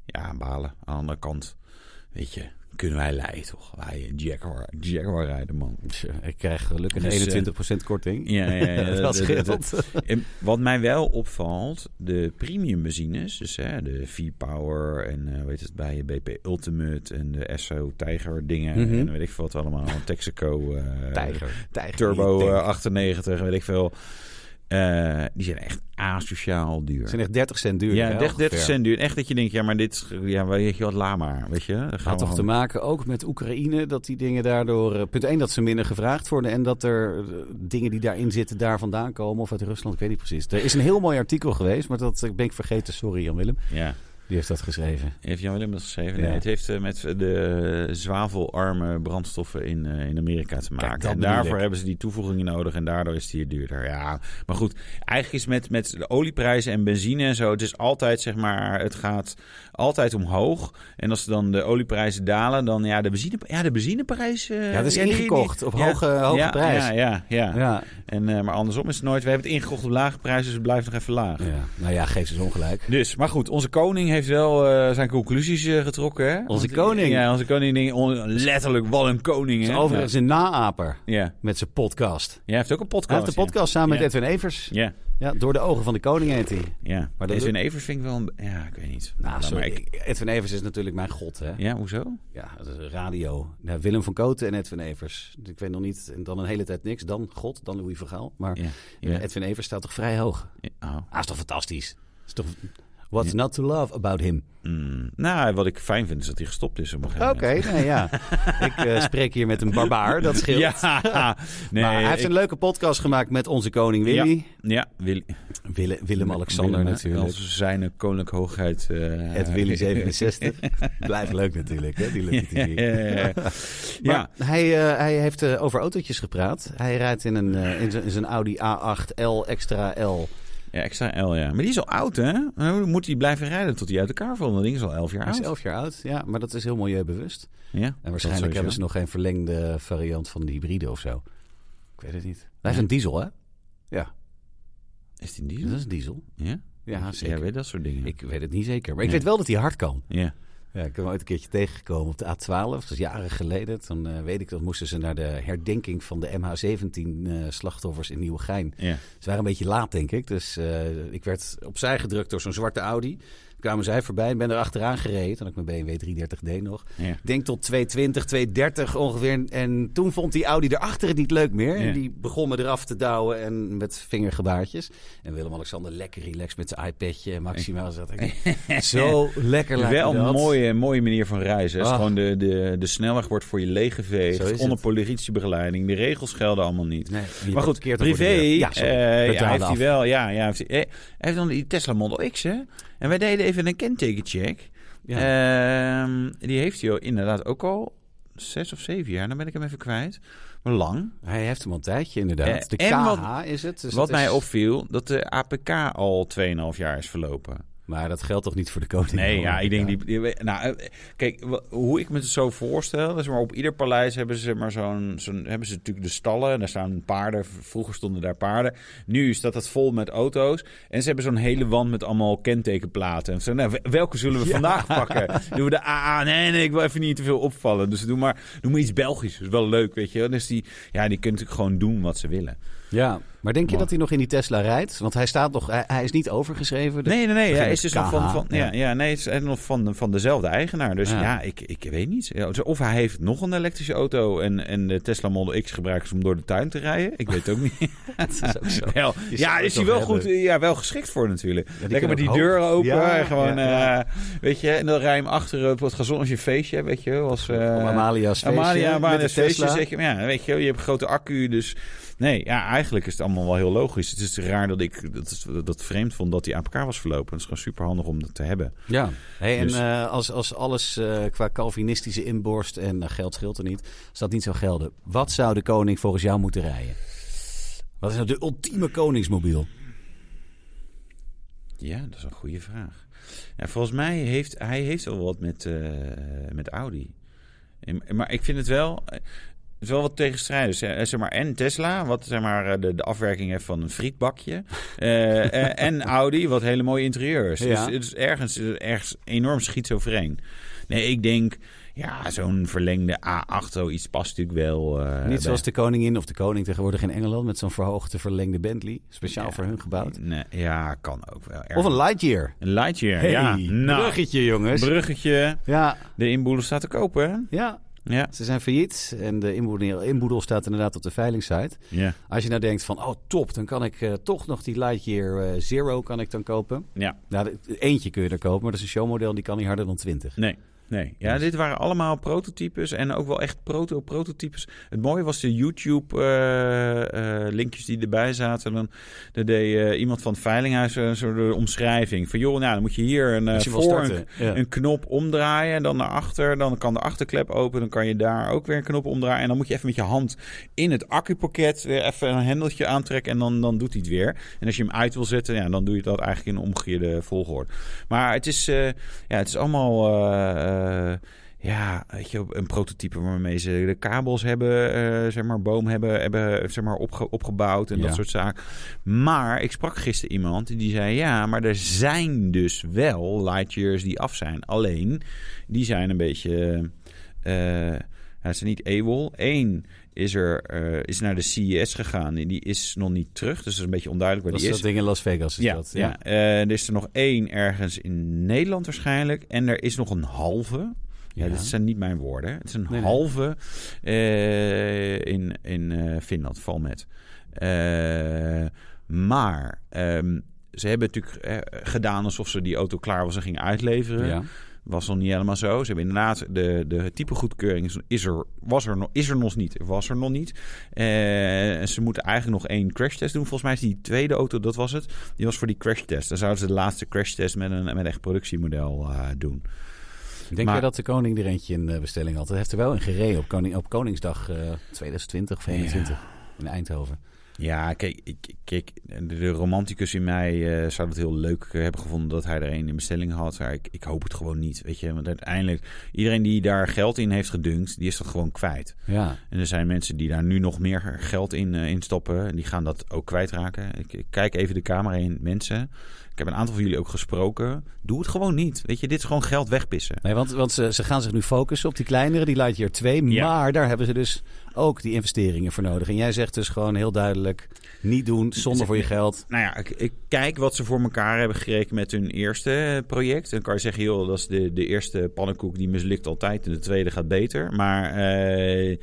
ja, balen. Aan de andere kant, weet je, kunnen wij leiden toch? Wij een Jaguar, Jaguar rijden, man. Tja, Ik krijg Dus, gelukkig eh, 21% korting. Ja, ja, ja, dat de- de- de- scheelt. En wat mij wel opvalt, de premium benzines, dus hè, de V-Power en eh, weet het bij je BP Ultimate en de SO Tiger dingen Mhm. en weet ik veel wat allemaal, Texaco, eh, Tijger. Tijger. Turbo Die eh, tank. 98, weet ik veel. Eh, die zijn echt asociaal duur. Ze zijn echt 30 cent duur. ja, 30, 30 cent duur. Echt dat je denkt, ja, maar dit, is- ja, weet je wat, laat maar, weet je. Dan gaan Had we toch te gewoon- maken ook met Oekraïne, dat die dingen daardoor... eh, Punt 1, dat ze minder gevraagd worden en dat er eh, dingen die daarin zitten daar vandaan komen of uit Rusland, ik weet niet precies. Er is een heel mooi artikel geweest, maar dat eh, ben ik vergeten. Sorry Jan-Willem, Ja, die heeft dat geschreven. heeft Jan Willem dat geschreven? Nee, Ja. het heeft eh, met de zwavelarme brandstoffen in, eh, in Amerika te maken. dat en bedoel daarvoor ik. hebben ze die toevoegingen nodig en daardoor is het hier duurder. Ja, maar goed, eigenlijk is met, met de olieprijzen en benzine en zo, het is altijd zeg maar, het gaat altijd omhoog. En als dan de olieprijzen dalen, dan ja, de benzine, ja, de benzineprijs. eh, Ja, dat is die- ingekocht op hoge- hoge ja, prijs. Ja, ja, ja. Ja, En, eh, maar andersom is het nooit. We hebben het ingekocht op lage prijzen, dus het blijft nog even laag. ja. nou ja, geef ze eens ongelijk. Dus, maar goed, onze koning heeft wel eh, zijn conclusies eh, getrokken. Hè? Onze koning. Ja, onze koning. denkt, on- letterlijk, wat een koning. Hè? Het is Dus overigens een naaper Ja, met zijn podcast. jij heeft ook een podcast. Hij heeft een podcast samen met Oh, Ja. Edwin Evers. Ja, Ja, door de ogen van de koning heet hij. ja. ja. Maar Maar dat- Edwin Evers vind ik wel een... Ja, ik weet niet. Nou, Maar sorry, ik- Edwin Evers is natuurlijk mijn god, hè? Ja, hoezo? Ja, dat is radio. Ja, Willem van Kooten en Edwin Evers. Ik weet nog niet, en dan een hele tijd niks. Dan God, dan Louis van Gaal. Maar Ja. ja. Edwin Evers staat toch vrij hoog? Oh. Ah, is toch fantastisch? Is toch... What's not to love about him? Mm. Nou, wat ik fijn vind is dat hij gestopt is op een Oké, gegeven moment. nee, ja. ik eh, spreek hier met een barbaar, dat scheelt. Ja, nee. maar hij heeft ik- een leuke podcast gemaakt met onze koning Willy. Ja, Willy. Wille- Willem-Alexander Willem, natuurlijk. Als zijn koninklijke hoogheid. eh, Het Willy 67. Blijft leuk natuurlijk, hè, die leuke ja, TV. ja, ja. Maar Ja. hij, eh, hij heeft eh, over autootjes gepraat. Hij rijdt in, een, eh, in zijn- in zijn Audi A8 L Extra L. Ja, extra L, ja. Maar die is al oud, hè? Nou, dan Moet die blijven rijden tot die uit elkaar valt? Dat ding is al elf jaar Hij is oud. elf jaar oud, ja, maar dat is heel milieubewust. Ja, En dat waarschijnlijk sowieso. hebben ze nog geen verlengde variant van de hybride of zo. Ik weet het niet. Wij zijn diesel, hè? Ja, Is die dat diesel? is diesel. Ja? Ja, Ah, Ja, zeker. weet dat soort dingen. Ik weet het niet zeker, maar ik Ja. weet wel dat hij hard kan. Ja. Ja, ik heb hem ooit een keertje tegengekomen op de A12. Dat is jaren geleden. Toen eh, weet ik dat moesten ze naar de herdenking van de MH17-slachtoffers eh, in Nieuwegein. Ja. Dus Ze waren een beetje laat, denk ik. Dus eh, ik werd opzij gedrukt door zo'n zwarte Audi. Toen kwamen zij voorbij en ben er achteraan gereden. Toen had ik mijn BMW 330D nog. Ja. Ik Denk tot 220, 230 ongeveer. En toen vond die Audi erachter het niet leuk meer. Ja. En die begon me eraf te douwen en met vingergebaartjes. En Willem-Alexander lekker relaxed met zijn iPadje. En Maxima zat er- Zo lekker lijkt Wel me dat. een mooie, mooie manier van reizen. hè. Is Ah. Gewoon de, de, de snelweg wordt voor je Zo is leeggeveegd. het. Onder politiebegeleiding. De regels gelden allemaal niet. Nee, je maar goed, parkeert er voor de privé deur. eh, Ja, ja, sorry. We heeft hij dwalen af. wel. Ja, ja, heeft, hij eh, hij heeft dan die Tesla Model X, hè? En wij deden even een kentekencheck. Ehm, die heeft hij al inderdaad ook al zes of zeven jaar. Dan ben ik hem even kwijt. Maar lang. Hij heeft hem al een tijdje inderdaad. Eh, de en KH is het. dus Wat dat is- mij opviel, dat de APK al 2,5 jaar is verlopen. Maar dat geldt toch niet voor de koning? Nee, ja, ik denk die. die... die- nou, eh, kijk, wa- hoe ik me het zo voorstel... Dus maar op ieder paleis hebben ze maar zo'n... zo'n- hebben ze natuurlijk de stallen. En daar staan paarden. V- Vroeger stonden daar paarden. Nu staat dat vol met auto's. En ze hebben zo'n hele wand met allemaal kentekenplaten. En zo, nou, we- welke zullen we vandaag pakken? Doen we de AA? Nee, nee, ik wil even niet te veel opvallen. Dus doe maar, doe maar iets Belgisch. Dat is wel leuk, weet je. wel. Dus die, ja, die kunnen natuurlijk gewoon doen wat ze willen. Ja, maar denk je Man. dat hij nog in die Tesla rijdt? Want hij staat nog, hij, hij is niet overgeschreven. dus- Nee, nee, nee. begin Hij met is dus nog van, KH, van, ja. ja. Ja, nee, het is echt nog van, van dezelfde eigenaar. Dus Ja. ja, ik, ik weet niet. Ja, dus Of hij heeft nog een elektrische auto en, en de Tesla Model X gebruikt ze om door de tuin te rijden. Ik weet het ook niet. Dat is ook zo. Wel, Die ja, zou is het hij toch wel goed, hebben. ja, wel geschikt voor natuurlijk. die Lekker met kunnen die ook deuren hoog. open. Ja, en gewoon, ja, eh, weet je, en dan rij je hem achter op het gazonnetje feestje, hè, weet je. wel, Als, eh, Op Amalia's feestje. Amalia, eh, met Amalia's de feestje, Tesla. zeg je. Ja, weet je, wel, je hebt een grote accu, dus... Nee, ja, eigenlijk is het allemaal wel heel logisch. Het is raar dat ik dat, dat vreemd vond dat die aan elkaar was verlopen. Het is gewoon super handig om dat te hebben. Ja. Hey, en Dus- eh, als, als alles eh, qua Calvinistische inborst en eh, geld scheelt er niet, als dat niet zou gelden, wat zou de koning volgens jou moeten rijden? Wat is nou de ultieme koningsmobiel? Ja, dat is een goede vraag. Ja, volgens mij heeft hij heeft al wat met, eh, met Audi. En- Maar ik vind het wel, eh, het is wel wat tegenstrijdig. eh, Zeg zeg maar, en Tesla, wat zeg maar, eh, de, de afwerking heeft van een frietbakje. Eh, eh, en Audi, wat hele mooie interieurs. Ja. Dus het is ergens, ergens enorm schietsovereen. Nee, ik denk, ja, zo'n verlengde A8, zoiets past natuurlijk wel. eh, bij- niet zoals de koningin of de koning tegenwoordig in Engeland met zo'n verhoogde verlengde Bentley, speciaal Ja. voor hun gebouwd. Nee, ja, kan ook wel. Of een Lightyear. een Lightyear, Hey, ja. Nou, bruggetje jongens. bruggetje. ja, De inboedel staat te kopen, hè? ja, Ja. Ze zijn failliet en de inboedel, inboedel staat inderdaad op de veilingsite. Ja. Als je nou denkt van, oh top, dan kan ik eh, toch nog die Lightyear eh, Zero kan ik dan kopen. ja. Nou, de- eentje kun je er kopen, maar dat is een showmodel en die kan niet harder dan 20. Nee. Nee. Ja, dit waren allemaal prototypes en ook wel echt proto-prototypes. Het mooie was de YouTube-linkjes die erbij zaten. Dan, dan deed eh, iemand van het veilinghuis een soort eh, omschrijving. Van joh, nou dan moet je hier een, eh, Moet je wel voor starten, een, ja. een knop omdraaien. En dan naar achter. Dan kan de achterklep open. Dan kan je daar ook weer een knop omdraaien. En dan moet je even met je hand in het accupakket weer even een hendeltje aantrekken. En dan, dan doet hij het weer. En als je hem uit wil zetten, ja, dan doe je dat eigenlijk in een omgekeerde volgorde. Maar het is, eh, ja, het is allemaal. eh, eh, ja, weet je, een prototype waarmee ze de kabels hebben, eh, zeg maar, boom hebben, hebben zeg maar, opge- opgebouwd en Ja. dat soort zaken. Maar ik sprak gisteren iemand die zei, ja, maar er zijn dus wel lightyears die af zijn. Alleen, die zijn een beetje, eh eh, ja, ze zijn niet able. Eén is, er, eh, is naar de CES gegaan en die is nog niet terug, dus dat is een beetje onduidelijk Dat waar is die is. dat ding in Las Vegas. Is Ja, dat, ja. Eh, er is er nog één ergens in Nederland waarschijnlijk. En er is nog een halve. Ja, Ja. dit zijn niet mijn woorden. Het is een Nee, nee. halve eh, in, in eh, Finland, Valmet. Eh, maar ehm, ze hebben natuurlijk eh, gedaan alsof ze die auto klaar was en gingen uitleveren. Ja. Was nog niet helemaal zo. Ze hebben inderdaad de, de typegoedkeuring is, is er, was er, nog, is er nog niet. Was er nog niet. Eh, en ze moeten eigenlijk nog één crashtest doen. Volgens mij is die tweede auto, dat was het. Die was voor die crashtest. Dan zouden ze de laatste crashtest met een, met een echt productiemodel eh, doen. Denk Maar- jij dat de koning er eentje in eh, bestelling had? Hij heeft er wel in gereden op, koning, op Koningsdag eh, 2020 of 2021 in Eindhoven. Ja, kijk, ik- kijk de romanticus in mij eh, zou het heel leuk eh, hebben gevonden dat hij er een in bestelling had. Maar ik, ik hoop het gewoon niet, weet je. Want uiteindelijk, iedereen die daar geld in heeft gedunkt, die is dat gewoon kwijt. Ja. En er zijn mensen die daar nu nog meer geld in, eh, in stoppen. En die gaan dat ook kwijtraken. Ik, ik kijk even de kamer in, mensen. Ik heb een aantal van jullie ook gesproken. Doe het gewoon niet, weet je. Dit is gewoon geld wegpissen. Nee, want, want ze, ze gaan zich nu focussen op die kleinere, die Lightyear 2. Ja. Maar daar hebben ze dus ook die investeringen voor nodig. En jij zegt dus gewoon heel duidelijk, niet doen, zonde voor je geld. Nou ja, ik, ik kijk wat ze voor elkaar hebben gerekend met hun eerste eh, project. Dan kan je zeggen, joh, dat is de, de eerste pannenkoek die mislukt altijd en de tweede gaat beter. Maar eh,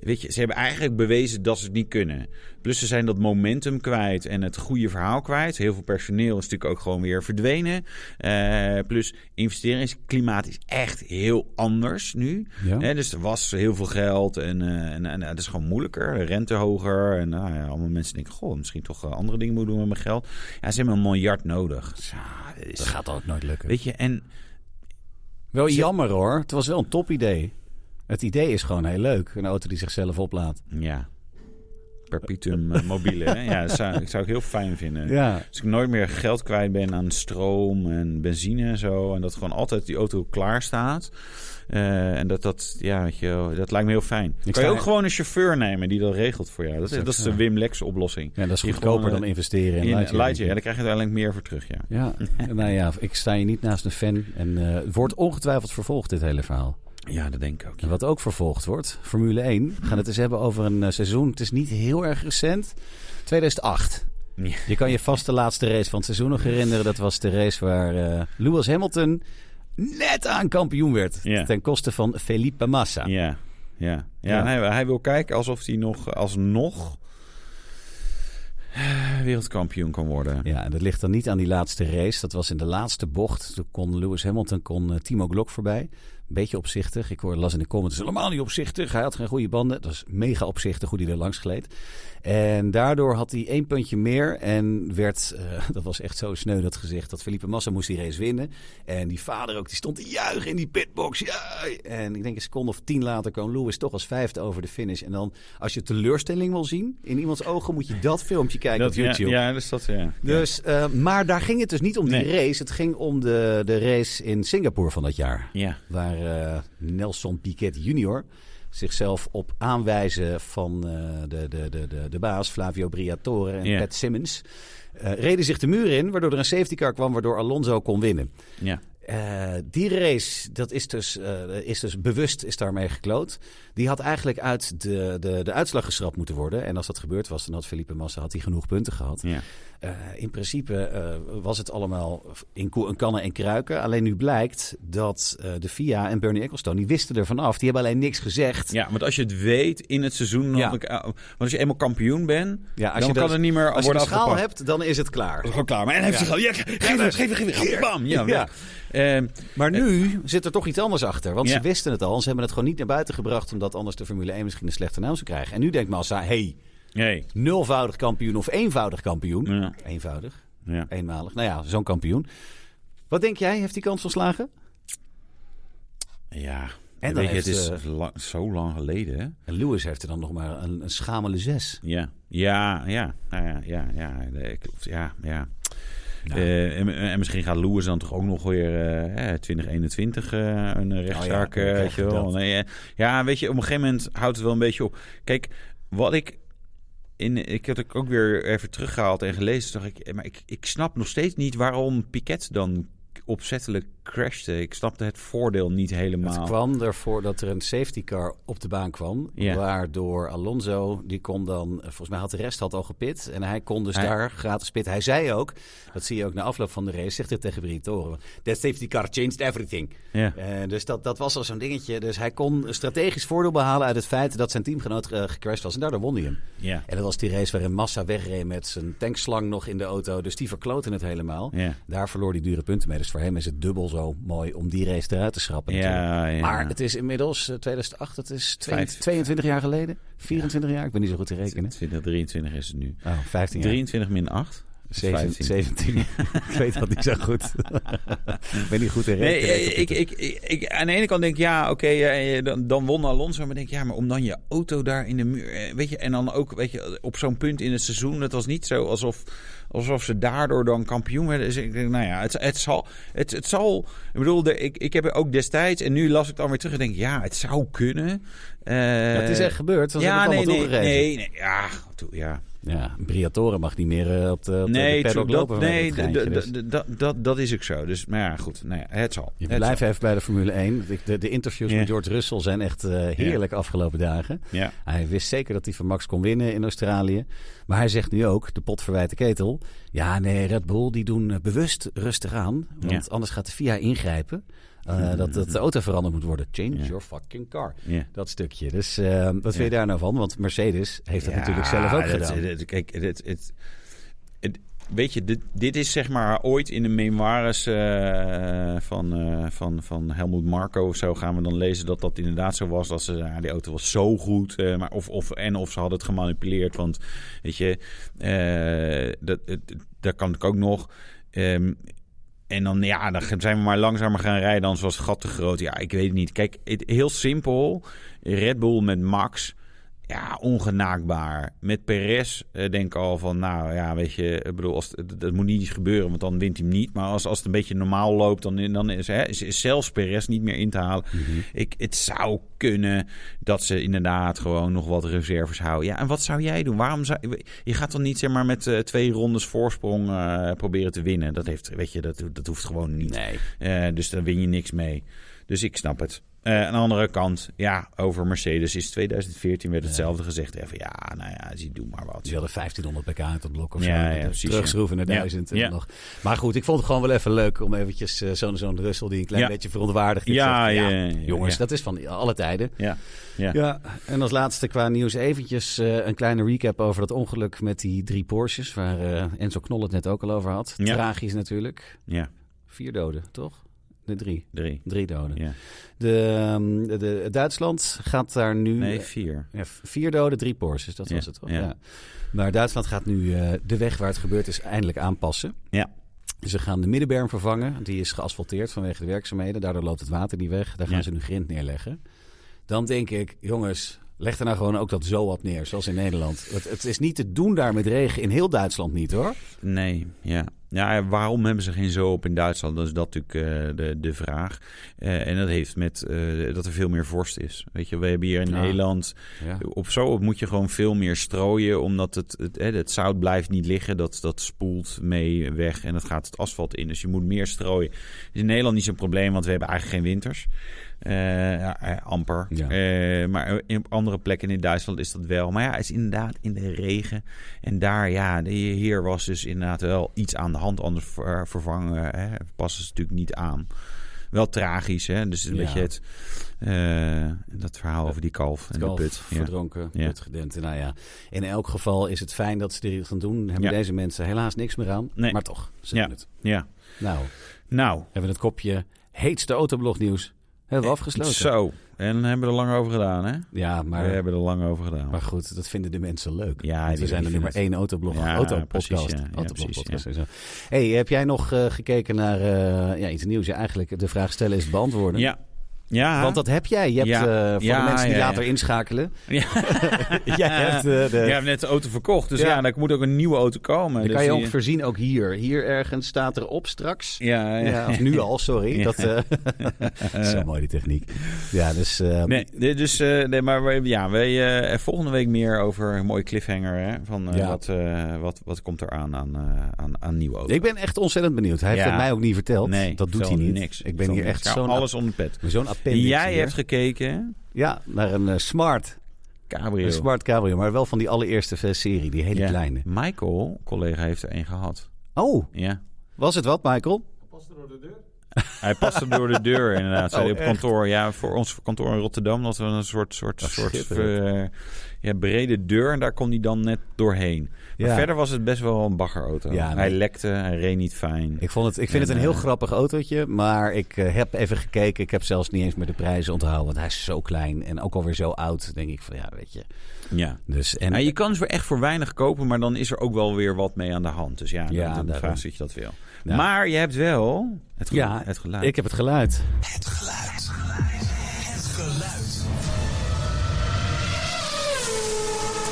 weet je, ze hebben eigenlijk bewezen dat ze het niet kunnen. Plus ze zijn dat momentum kwijt en het goede verhaal kwijt. Heel veel personeel is natuurlijk ook gewoon weer verdwenen. Eh, plus investeringsklimaat is echt heel anders nu. Ja. Hè, dus er was heel veel geld en, eh, en, en het is gewoon moeilijker. De rente hoger. En nou ja, allemaal mensen denken, goh, misschien toch eh, andere dingen moeten doen met mijn geld. Ja, ze hebben een miljard nodig. Ja, dat Dat is- gaat ook nooit lukken. Weet je, en Wel jammer hoor. Het was wel een top idee. Het idee is gewoon heel leuk. Een auto die zichzelf oplaadt. ja, perpetuum eh, mobile. hè. Ja, dat zou, dat zou ik heel fijn vinden. Ja. Als ik nooit meer geld kwijt ben aan stroom en benzine en zo. En dat gewoon altijd die auto klaar staat. Eh, en dat, dat, ja, weet je, wel, dat lijkt me heel fijn. kan sta- je ook gewoon een chauffeur nemen die dat regelt voor jou. Dat, is- ook dat is de waar. Wim Lex oplossing. ja, dat is Die goedkoper gewoon, dan eh, investeren in, In Lightyear. Lightyear, ja, daar krijg je uiteindelijk meer voor terug, ja. Ja, nou ja, ik sta hier niet naast een fan. En eh, het wordt ongetwijfeld vervolgd, dit hele verhaal. Ja, dat denk ik ook. En wat ook vervolgd wordt, Formule 1. We gaan het eens hebben over een eh, seizoen. Het is niet heel erg recent. 2008. Ja. Je kan je vast de laatste race van het seizoen nog herinneren. Dat was de race waar eh, Lewis Hamilton net aan kampioen werd. Ja. Ten koste van Felipe Massa. Ja, ja. ja, Ja. en Hij, hij wil kijken alsof hij nog alsnog eh, wereldkampioen kan worden. Ja, en dat ligt dan niet aan die laatste race. Dat was in de laatste bocht. Toen kon Lewis Hamilton kon eh, Timo Glock voorbij. Een beetje opzichtig. Ik hoorde las in de comments, "Het is helemaal niet opzichtig. Hij had geen goede banden. Het was mega opzichtig hoe hij er langs gleed. En daardoor had hij één puntje meer. En werd, eh, dat was echt zo sneu dat gezegd, dat Felipe Massa moest die race winnen. En die vader ook, die stond te juichen in die pitbox. Ja! En ik denk een seconde of tien later kwam Lewis toch als vijfde over de finish. En dan, als je teleurstelling wil zien in iemands ogen, moet je dat filmpje kijken op ja, YouTube. Ja, dus dat, ja. Dus, eh, maar daar ging het dus niet om die Nee. race. Het ging om de, de race in Singapore van dat jaar. Ja. Waar eh, Nelson Piquet junior zichzelf op aanwijzen van eh, de, de, de, de, de baas Flavio Briatore en Ja. Pat Simmons... eh, reden zich de muur in, waardoor er een safety car kwam... waardoor Alonso kon winnen. ja. Eh, die race, dat is dus, eh, is dus bewust is daarmee gekloot. Die had eigenlijk uit de, de, de uitslag geschrapt moeten worden. En als dat gebeurd was, dan had Felipe Massa had hij genoeg punten gehad. ja. Eh, in principe eh, was het allemaal in, ko- in kannen en kruiken. Alleen nu blijkt dat eh, de FIA en Bernie Ecclestone, die wisten ervan af. Die hebben alleen niks gezegd. Ja, want als je het weet in het seizoen... dan- eh, Ja. Want als je eenmaal kampioen bent, Ja, als dan je kan dat- het niet meer Als je de worden schaal afgepakt. hebt, dan is het klaar. Dat is gewoon klaar. Maar en hij heeft zich al... Ja, geef hem, geef hem, geef hem. Bam! Ja, Ja. weg. Eh, Maar nu zit er toch iets anders achter. Want Ja. ze wisten het al. en Ze hebben het gewoon niet naar buiten gebracht. Omdat anders de Formule 1 misschien een slechte naam zou krijgen. En nu denkt Massa, hey, nee. nulvoudig kampioen of eenvoudig kampioen. Ja. Eenvoudig, Ja. eenmalig. Nou ja, zo'n kampioen. Wat denk jij? Heeft hij kans van slagen? ja. Weet dan je, het heeft, is eh, lang- zo lang geleden, hè? En Lewis heeft er dan nog maar een, een schamele zes. Ja, ja, ja, nou ja, ja, ja, nee, klopt. Ja, ja. Nou. Eh, en, en misschien gaat Lewis dan toch ook nog weer eh, eh, 2021 eh, Oh een rechtszaak. dan eh, krijg weet je je wel. dat. Nee, eh, ja, weet je, op een gegeven moment houdt het wel een beetje op. Kijk, wat ik. In, ik had ook weer even teruggehaald en gelezen. Dacht ik, eh, maar ik, ik snap nog steeds niet waarom Piquet dan opzettelijk crashte. Ik snapte het voordeel niet helemaal. Het kwam ervoor dat er een safety car op de baan kwam. Ja. Waardoor Alonso, die kon dan... eh, Volgens mij had de rest had al gepit. En hij kon dus Hij- daar gratis pitten. Hij zei ook, dat zie je ook na afloop van de race... zegt hij tegen Briatore... That safety car changed everything. Ja. Eh, dus dat, dat was al zo'n dingetje. Dus hij kon een strategisch voordeel behalen... uit het feit dat zijn teamgenoot eh, gecrashed was. En daardoor won hij hem. Ja. En dat was die race waarin Massa wegreed met zijn tankslang nog in de auto. Dus die verkloten het helemaal. Ja. Daar verloor hij dure punten mee. Dus voor hem is het dubbel zo mooi om die race eruit te schrappen. natuurlijk. Ja, ja. Maar het is inmiddels eh, 2008, dat is twee- Vijf. 22 jaar geleden. 24 jaar, ik ben niet zo goed te rekenen. 20, 23 is het nu. Oh, 15 jaar. 23 min Dus 8 15. 17. 17. ik weet dat niet zo goed. ik ben niet goed in Nee, rekenen. ik, ik, ik, ik- aan de ene kant denk ik, ja, oké, eh, eh, dan, dan won Alonso. Maar denk ik, ja, maar om dan je auto daar in de muur... eh, Weet je, en dan ook, weet je, op zo'n punt in het seizoen... Het was niet zo alsof, alsof ze daardoor dan kampioen werden. Dus ik denk, nou ja, het, het zal... Het, het zal ik bedoel, de- ik, ik heb er ook destijds... En nu las ik dan weer terug en denk ik, ja, het zou kunnen. Eh, Ja, het is echt gebeurd. Dan Ja, heb ik nee, allemaal nee, toegegeven. nee, nee, ja, toe- ja. Ja, Briatore mag niet meer eh, op de, op de- de Nee, paddock tuurlijk, lopen. dat, vanwege nee het geintje, d- dus. d- d- dat, dat, dat is ook zo. Dus, maar ja, goed. Nou ja, het zal. Je Het blijft even bij de Formule 1. De, de, de interviews Ja. met George Russell zijn echt eh, heerlijk afgelopen dagen. zal. Ja. Hij wist zeker dat hij van Max kon winnen in Australië. Maar hij zegt nu ook, de pot verwijt de ketel. Ja, nee, Red Bull die doen eh, bewust rustig aan. Want anders gaat de FIA ingrijpen. eh, dat, dat de auto veranderd moet worden. Change Ja. your fucking car. Ja. Dat stukje. Dus eh, wat vind je daar nou van? Want Mercedes heeft dat Ja, natuurlijk zelf ook dat- gedaan. dat- kijk, het, het, het, het- weet je, dit, dit is zeg maar ooit in de memoires eh, van, eh, van, van Helmoet Marco of zo gaan we dan lezen dat dat inderdaad zo was. Dat ze, ja, die auto was zo goed. eh, maar of, of, en of ze hadden het gemanipuleerd. Want weet je, eh, dat, het- dat kan ik ook nog. Ehm, en dan, ja, dan zijn we maar langzamer gaan rijden, anders was het gat te groot. Ja, ik weet het niet. Kijk, het, heel simpel. Red Bull met Max, ja, ongenaakbaar. Met Perez eh, denk ik al van, nou ja, weet je, ik bedoel, als, het- dat moet niet gebeuren, want dan wint hij hem niet. Maar als, als het een beetje normaal loopt, dan, dan is, hè, is, is zelfs Perez niet meer in te halen. Mhm. ik, het zou kunnen dat ze inderdaad gewoon nog wat reserves houden. Ja, en wat zou jij doen? Waarom zou, je gaat dan niet zeg maar, met eh, twee rondes voorsprong eh, proberen te winnen. Dat, heeft, weet je, dat, dat hoeft gewoon niet. Nee. Eh, dus daar win je niks mee. Dus ik snap het. Eh, aan de andere kant, ja, over Mercedes is 2014 werd hetzelfde gezegd. Even, ja, nou ja, zie, doe maar wat. Ze Dus hadden 1500 pk uit dat blok of zo. Ja, Dat ja, is precies, terugschroeven ja. naar 1000 en Ja. nog. Maar goed, ik vond het gewoon wel even leuk om eventjes eh, zo'n zo'n Russell die een klein Ja. beetje verontwaardigd is. Ja, zegt, ja, ja, ja, jongens, ja. dat is van alle tijden. Ja, ja. Ja, en als laatste qua nieuws eventjes eh, een kleine recap over dat ongeluk met die drie Porsches, waar eh, Enzo Knol het net ook al over had. Ja. Tragisch natuurlijk. ja, Vier doden, toch? De drie. drie. Drie doden. Ja. De, ehm, de, de- Duitsland gaat daar nu... Nee, vier. Ja, vier doden, drie Porsches, dat Ja, was het toch? Ja. ja. Maar Duitsland gaat nu eh, de weg waar het gebeurd is eindelijk aanpassen. Ja. Ze gaan de middenberm vervangen. Die is geasfalteerd vanwege de werkzaamheden. Daardoor loopt het water niet weg. Daar gaan Ja. ze nu grind neerleggen. Dan denk ik, jongens, leg er nou gewoon ook dat zo op neer, zoals in Nederland. Het, het is niet te doen daar met regen in heel Duitsland niet, hoor. Nee, ja. Ja, waarom hebben ze geen zo op in Duitsland? Dat is dat natuurlijk eh, de, de vraag. Eh, en dat heeft met eh, dat er veel meer vorst is. Weet je, we hebben hier in Ja. Nederland op zo moet je gewoon veel meer strooien, omdat het, het, hè, het zout blijft niet liggen. Dat, dat spoelt mee weg en dat gaat het asfalt in. Dus je moet meer strooien. Is in Nederland niet zo'n probleem, want we hebben eigenlijk geen winters. Eh, ja, eh, amper. Ja. Eh, maar in- op andere plekken in Duitsland is dat wel. Maar ja, het is inderdaad in de regen. En daar, ja, de- hier was dus inderdaad wel iets aan de hand. Anders ver- eh, vervangen hè, passen ze natuurlijk niet aan. Wel tragisch, hè? Dus een Ja. beetje het, eh, dat verhaal over die kalf en Kalf, de put. Ja. verdronken, Ja. putgedempt. Nou ja, in elk geval is het fijn dat ze dit gaan doen. Hebben Ja. deze mensen helaas niks meer aan. Nee. Maar toch, ze Ja. doen het. Ja. Nou, Nou, hebben we het kopje heetste autoblognieuws hebben we afgesloten. Eh, zo. En hebben we er lang over gedaan, hè? Ja, maar, we hebben er lang over gedaan. maar goed, dat vinden de mensen leuk. Ja, Want we die- zijn de die nummer vinden één autoblog, Ja, autopodcast. precies, ja. Ja, Autoblogpodcast precies, en zo. hey, heb jij nog eh, gekeken naar eh, ja, iets nieuws? Ja, eigenlijk de vraag stellen is beantwoorden. Ja. Ja. Want dat heb jij. Je hebt Ja. eh, voor Ja, de mensen die ja, ja. later inschakelen. Ja. jij hebt eh, de... Jij hebt net de auto verkocht, dus Eh. Ja. ja, dan moet ook een nieuwe auto komen. Dan dus kan je die- ook voorzien, ook hier. Hier ergens staat erop straks. Ja, ja. Ja, of nu al, sorry. Ja. Dat, eh, zo mooi die techniek. Ja, dus eh, Nee, dit dus, eh, nee, maar we- ja, wij, eh, volgende week meer over een mooie cliffhanger. Hè, van eh, Ja. wat, eh, wat, wat komt er aan aan, eh, aan, aan nieuwe auto's. ik ben echt ontzettend benieuwd. Hij heeft Ja. het mij ook niet verteld. nee, dat doet hij vertel niet. Niks. Ik ben Vertel hier niks. echt Nou, zo'n alles onder de pet. zo'n appendix. Jij hier. hebt gekeken, Ja, naar een eh, smart, cabrio. een smart cabrio. Maar wel van die allereerste eh, serie, die hele Ja. kleine. Michael, collega, heeft er één gehad. Oh, Ja. was het wat, Michael? Hij paste door de deur inderdaad, zei Oh, hij op echt? kantoor. Ja, voor ons kantoor in Rotterdam dat we een soort, soort, Ach, soort schitterend. eh, ja, brede deur en daar kon hij dan net doorheen. Maar Ja. verder was het best wel een baggerauto. Ja, Hij nee. lekte, hij reed niet fijn. Ik, vond het, ik vind het een eh, heel grappig autootje, maar ik eh, heb even gekeken. Ik heb zelfs niet eens meer de prijzen onthouden, want hij is zo klein en ook alweer zo oud. Denk ik van ja, weet je. Ja. Dus, en, Ja, je kan ze weer echt voor weinig kopen, maar dan is er ook wel weer wat mee aan de hand. Dus ja, Ja, dan, dan daarom. vraag je dat je dat wil. Ja. Maar je hebt wel het, gelu- ja, het geluid. ik heb het geluid. Het geluid. Het geluid.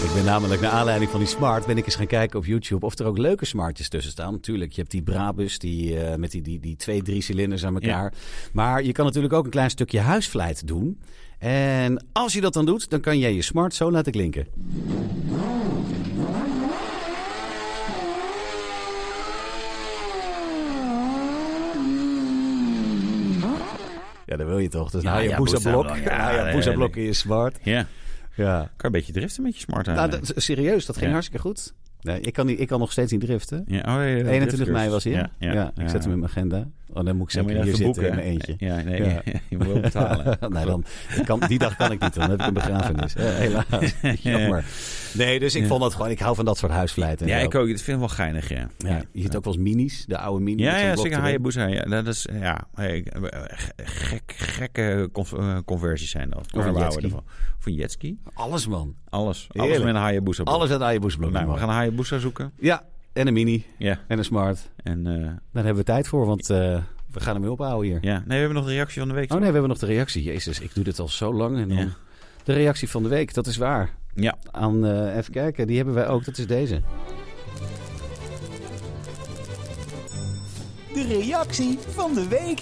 Ik ben namelijk naar aanleiding van die smart ben ik eens gaan kijken op YouTube of er ook leuke smartjes tussen staan. Natuurlijk, je hebt die Brabus die, eh, met die, die, die twee, drie cilinders aan elkaar. Maar je kan natuurlijk ook een klein stukje huisvlijt doen. En als je dat dan doet, dan kan jij je smart zo laten klinken. Ja, dat wil je toch? Dus Ja, nou je ja, boezablok. boezablok. Ja, nou je nee, boezablok in nee. je smart. Ja, Ja. kan een beetje driften met je smart Nou, aan. dat, serieus, dat ging Ja. hartstikke goed. Nee, ik, kan niet, ik kan nog steeds niet driften. Ja, oh, ja, ja, 21 mei driftcursus. was hij. hè? Ja, ik zet hem in mijn agenda. Oh, dan moet ik Ja, maar zeker je hier moet even zitten in boeken, mijn hè? eentje. Ja, nee, je moet wel betalen. nee, dan, ik kan, die dag kan ik niet. Dan heb ik een begrafenis. Eh, helaas. Jammer. Nee, dus ik vond dat gewoon... Ik hou van dat soort huisvlijten. en Ja, zo. ik ook. Dat vind ik wel geinig, ja. Ja, je ziet ook wel eens minis. De oude minis. Ja, met zo'n ja blok zeker erin. Hayabusa. Ja, dat is, ja, hey, ge- gek, gekke conf- eh, conversies zijn dat. een Waar we houden jetski. ervan. Of een jetski. Alles, man. Alles. Alles Heerlijk. met een Hayabusa. blok. Alles uit Ajaboesblok. Nou, we gaan een Hayabusa zoeken. Ja, en een mini. Ja. En een smart. En eh, Daar hebben we tijd voor, want eh, we gaan hem weer ophouden hier. ja. Nee, we hebben nog de reactie van de week. Oh nee, we hebben nog de reactie. Jezus, ik doe dit al zo lang. En dan... Ja. De reactie van de week, dat is waar. Ja. Aan, eh, even kijken, die hebben wij ook. Dat is deze. De reactie van de week.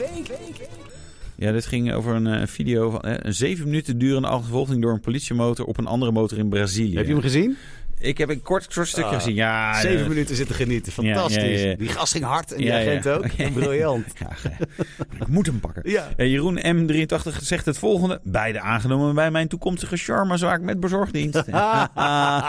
Ja, dit ging over een eh, video van eh, een zeven minuten durende achtervolging door een politiemotor op een andere motor in Brazilië. Heb je hem gezien? Ik heb een kort, kort stukje Ah, gezien. Ja, Zeven eh, minuten zitten genieten. ja, Fantastisch. ja, ja. Die gast ging hard en die Ja, ja. agent ook. Briljant. ja, ge- ik moet hem pakken. Ja. Eh, Jeroen M83 zegt het volgende. Beide aangenomen bij mijn toekomstige charmazaak met bezorgdienst. ja.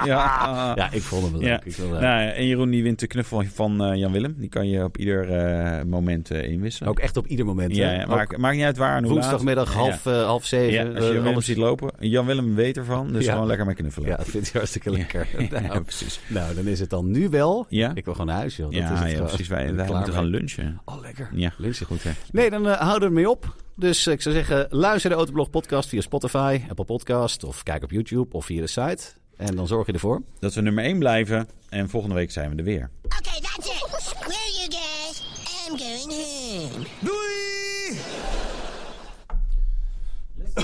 ja. Ja, ik vond hem leuk. Ah. Ja. Ik wil, eh, Nou, ja, en Jeroen die wint de knuffel van eh, Jan Willem. Die kan je op ieder eh, moment eh, inwisselen. Ook echt op ieder moment. ja, hè? ja, Ook maakt, maakt niet uit waar. en hoe laat. woensdagmiddag half, eh, half zeven. Ja, als eh, je Jan Willem alles- ziet lopen. Jan Willem weet ervan, dus Ja. gewoon lekker mee knuffelen. Ja, dat vind ik hartstikke lekker. Ja, Nou, precies. nou, dan is het dan nu wel. Ja? Ik wil gewoon naar huis, joh. Dat ja, is het ja, gewoon. precies. Ik Wij, ben wij klaar moeten gaan mee. lunchen. Oh, lekker. Ja, Lunchen. goed hè. Nee, dan eh, houden we ermee op. Dus eh, ik zou zeggen, luister de Autoblog podcast via Spotify, Apple Podcast of kijk op YouTube of via de site. En dan zorg je ervoor. Dat we nummer 1 blijven en volgende week zijn we er weer. Okay, that's it. Where you guys? I'm going home.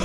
Doei!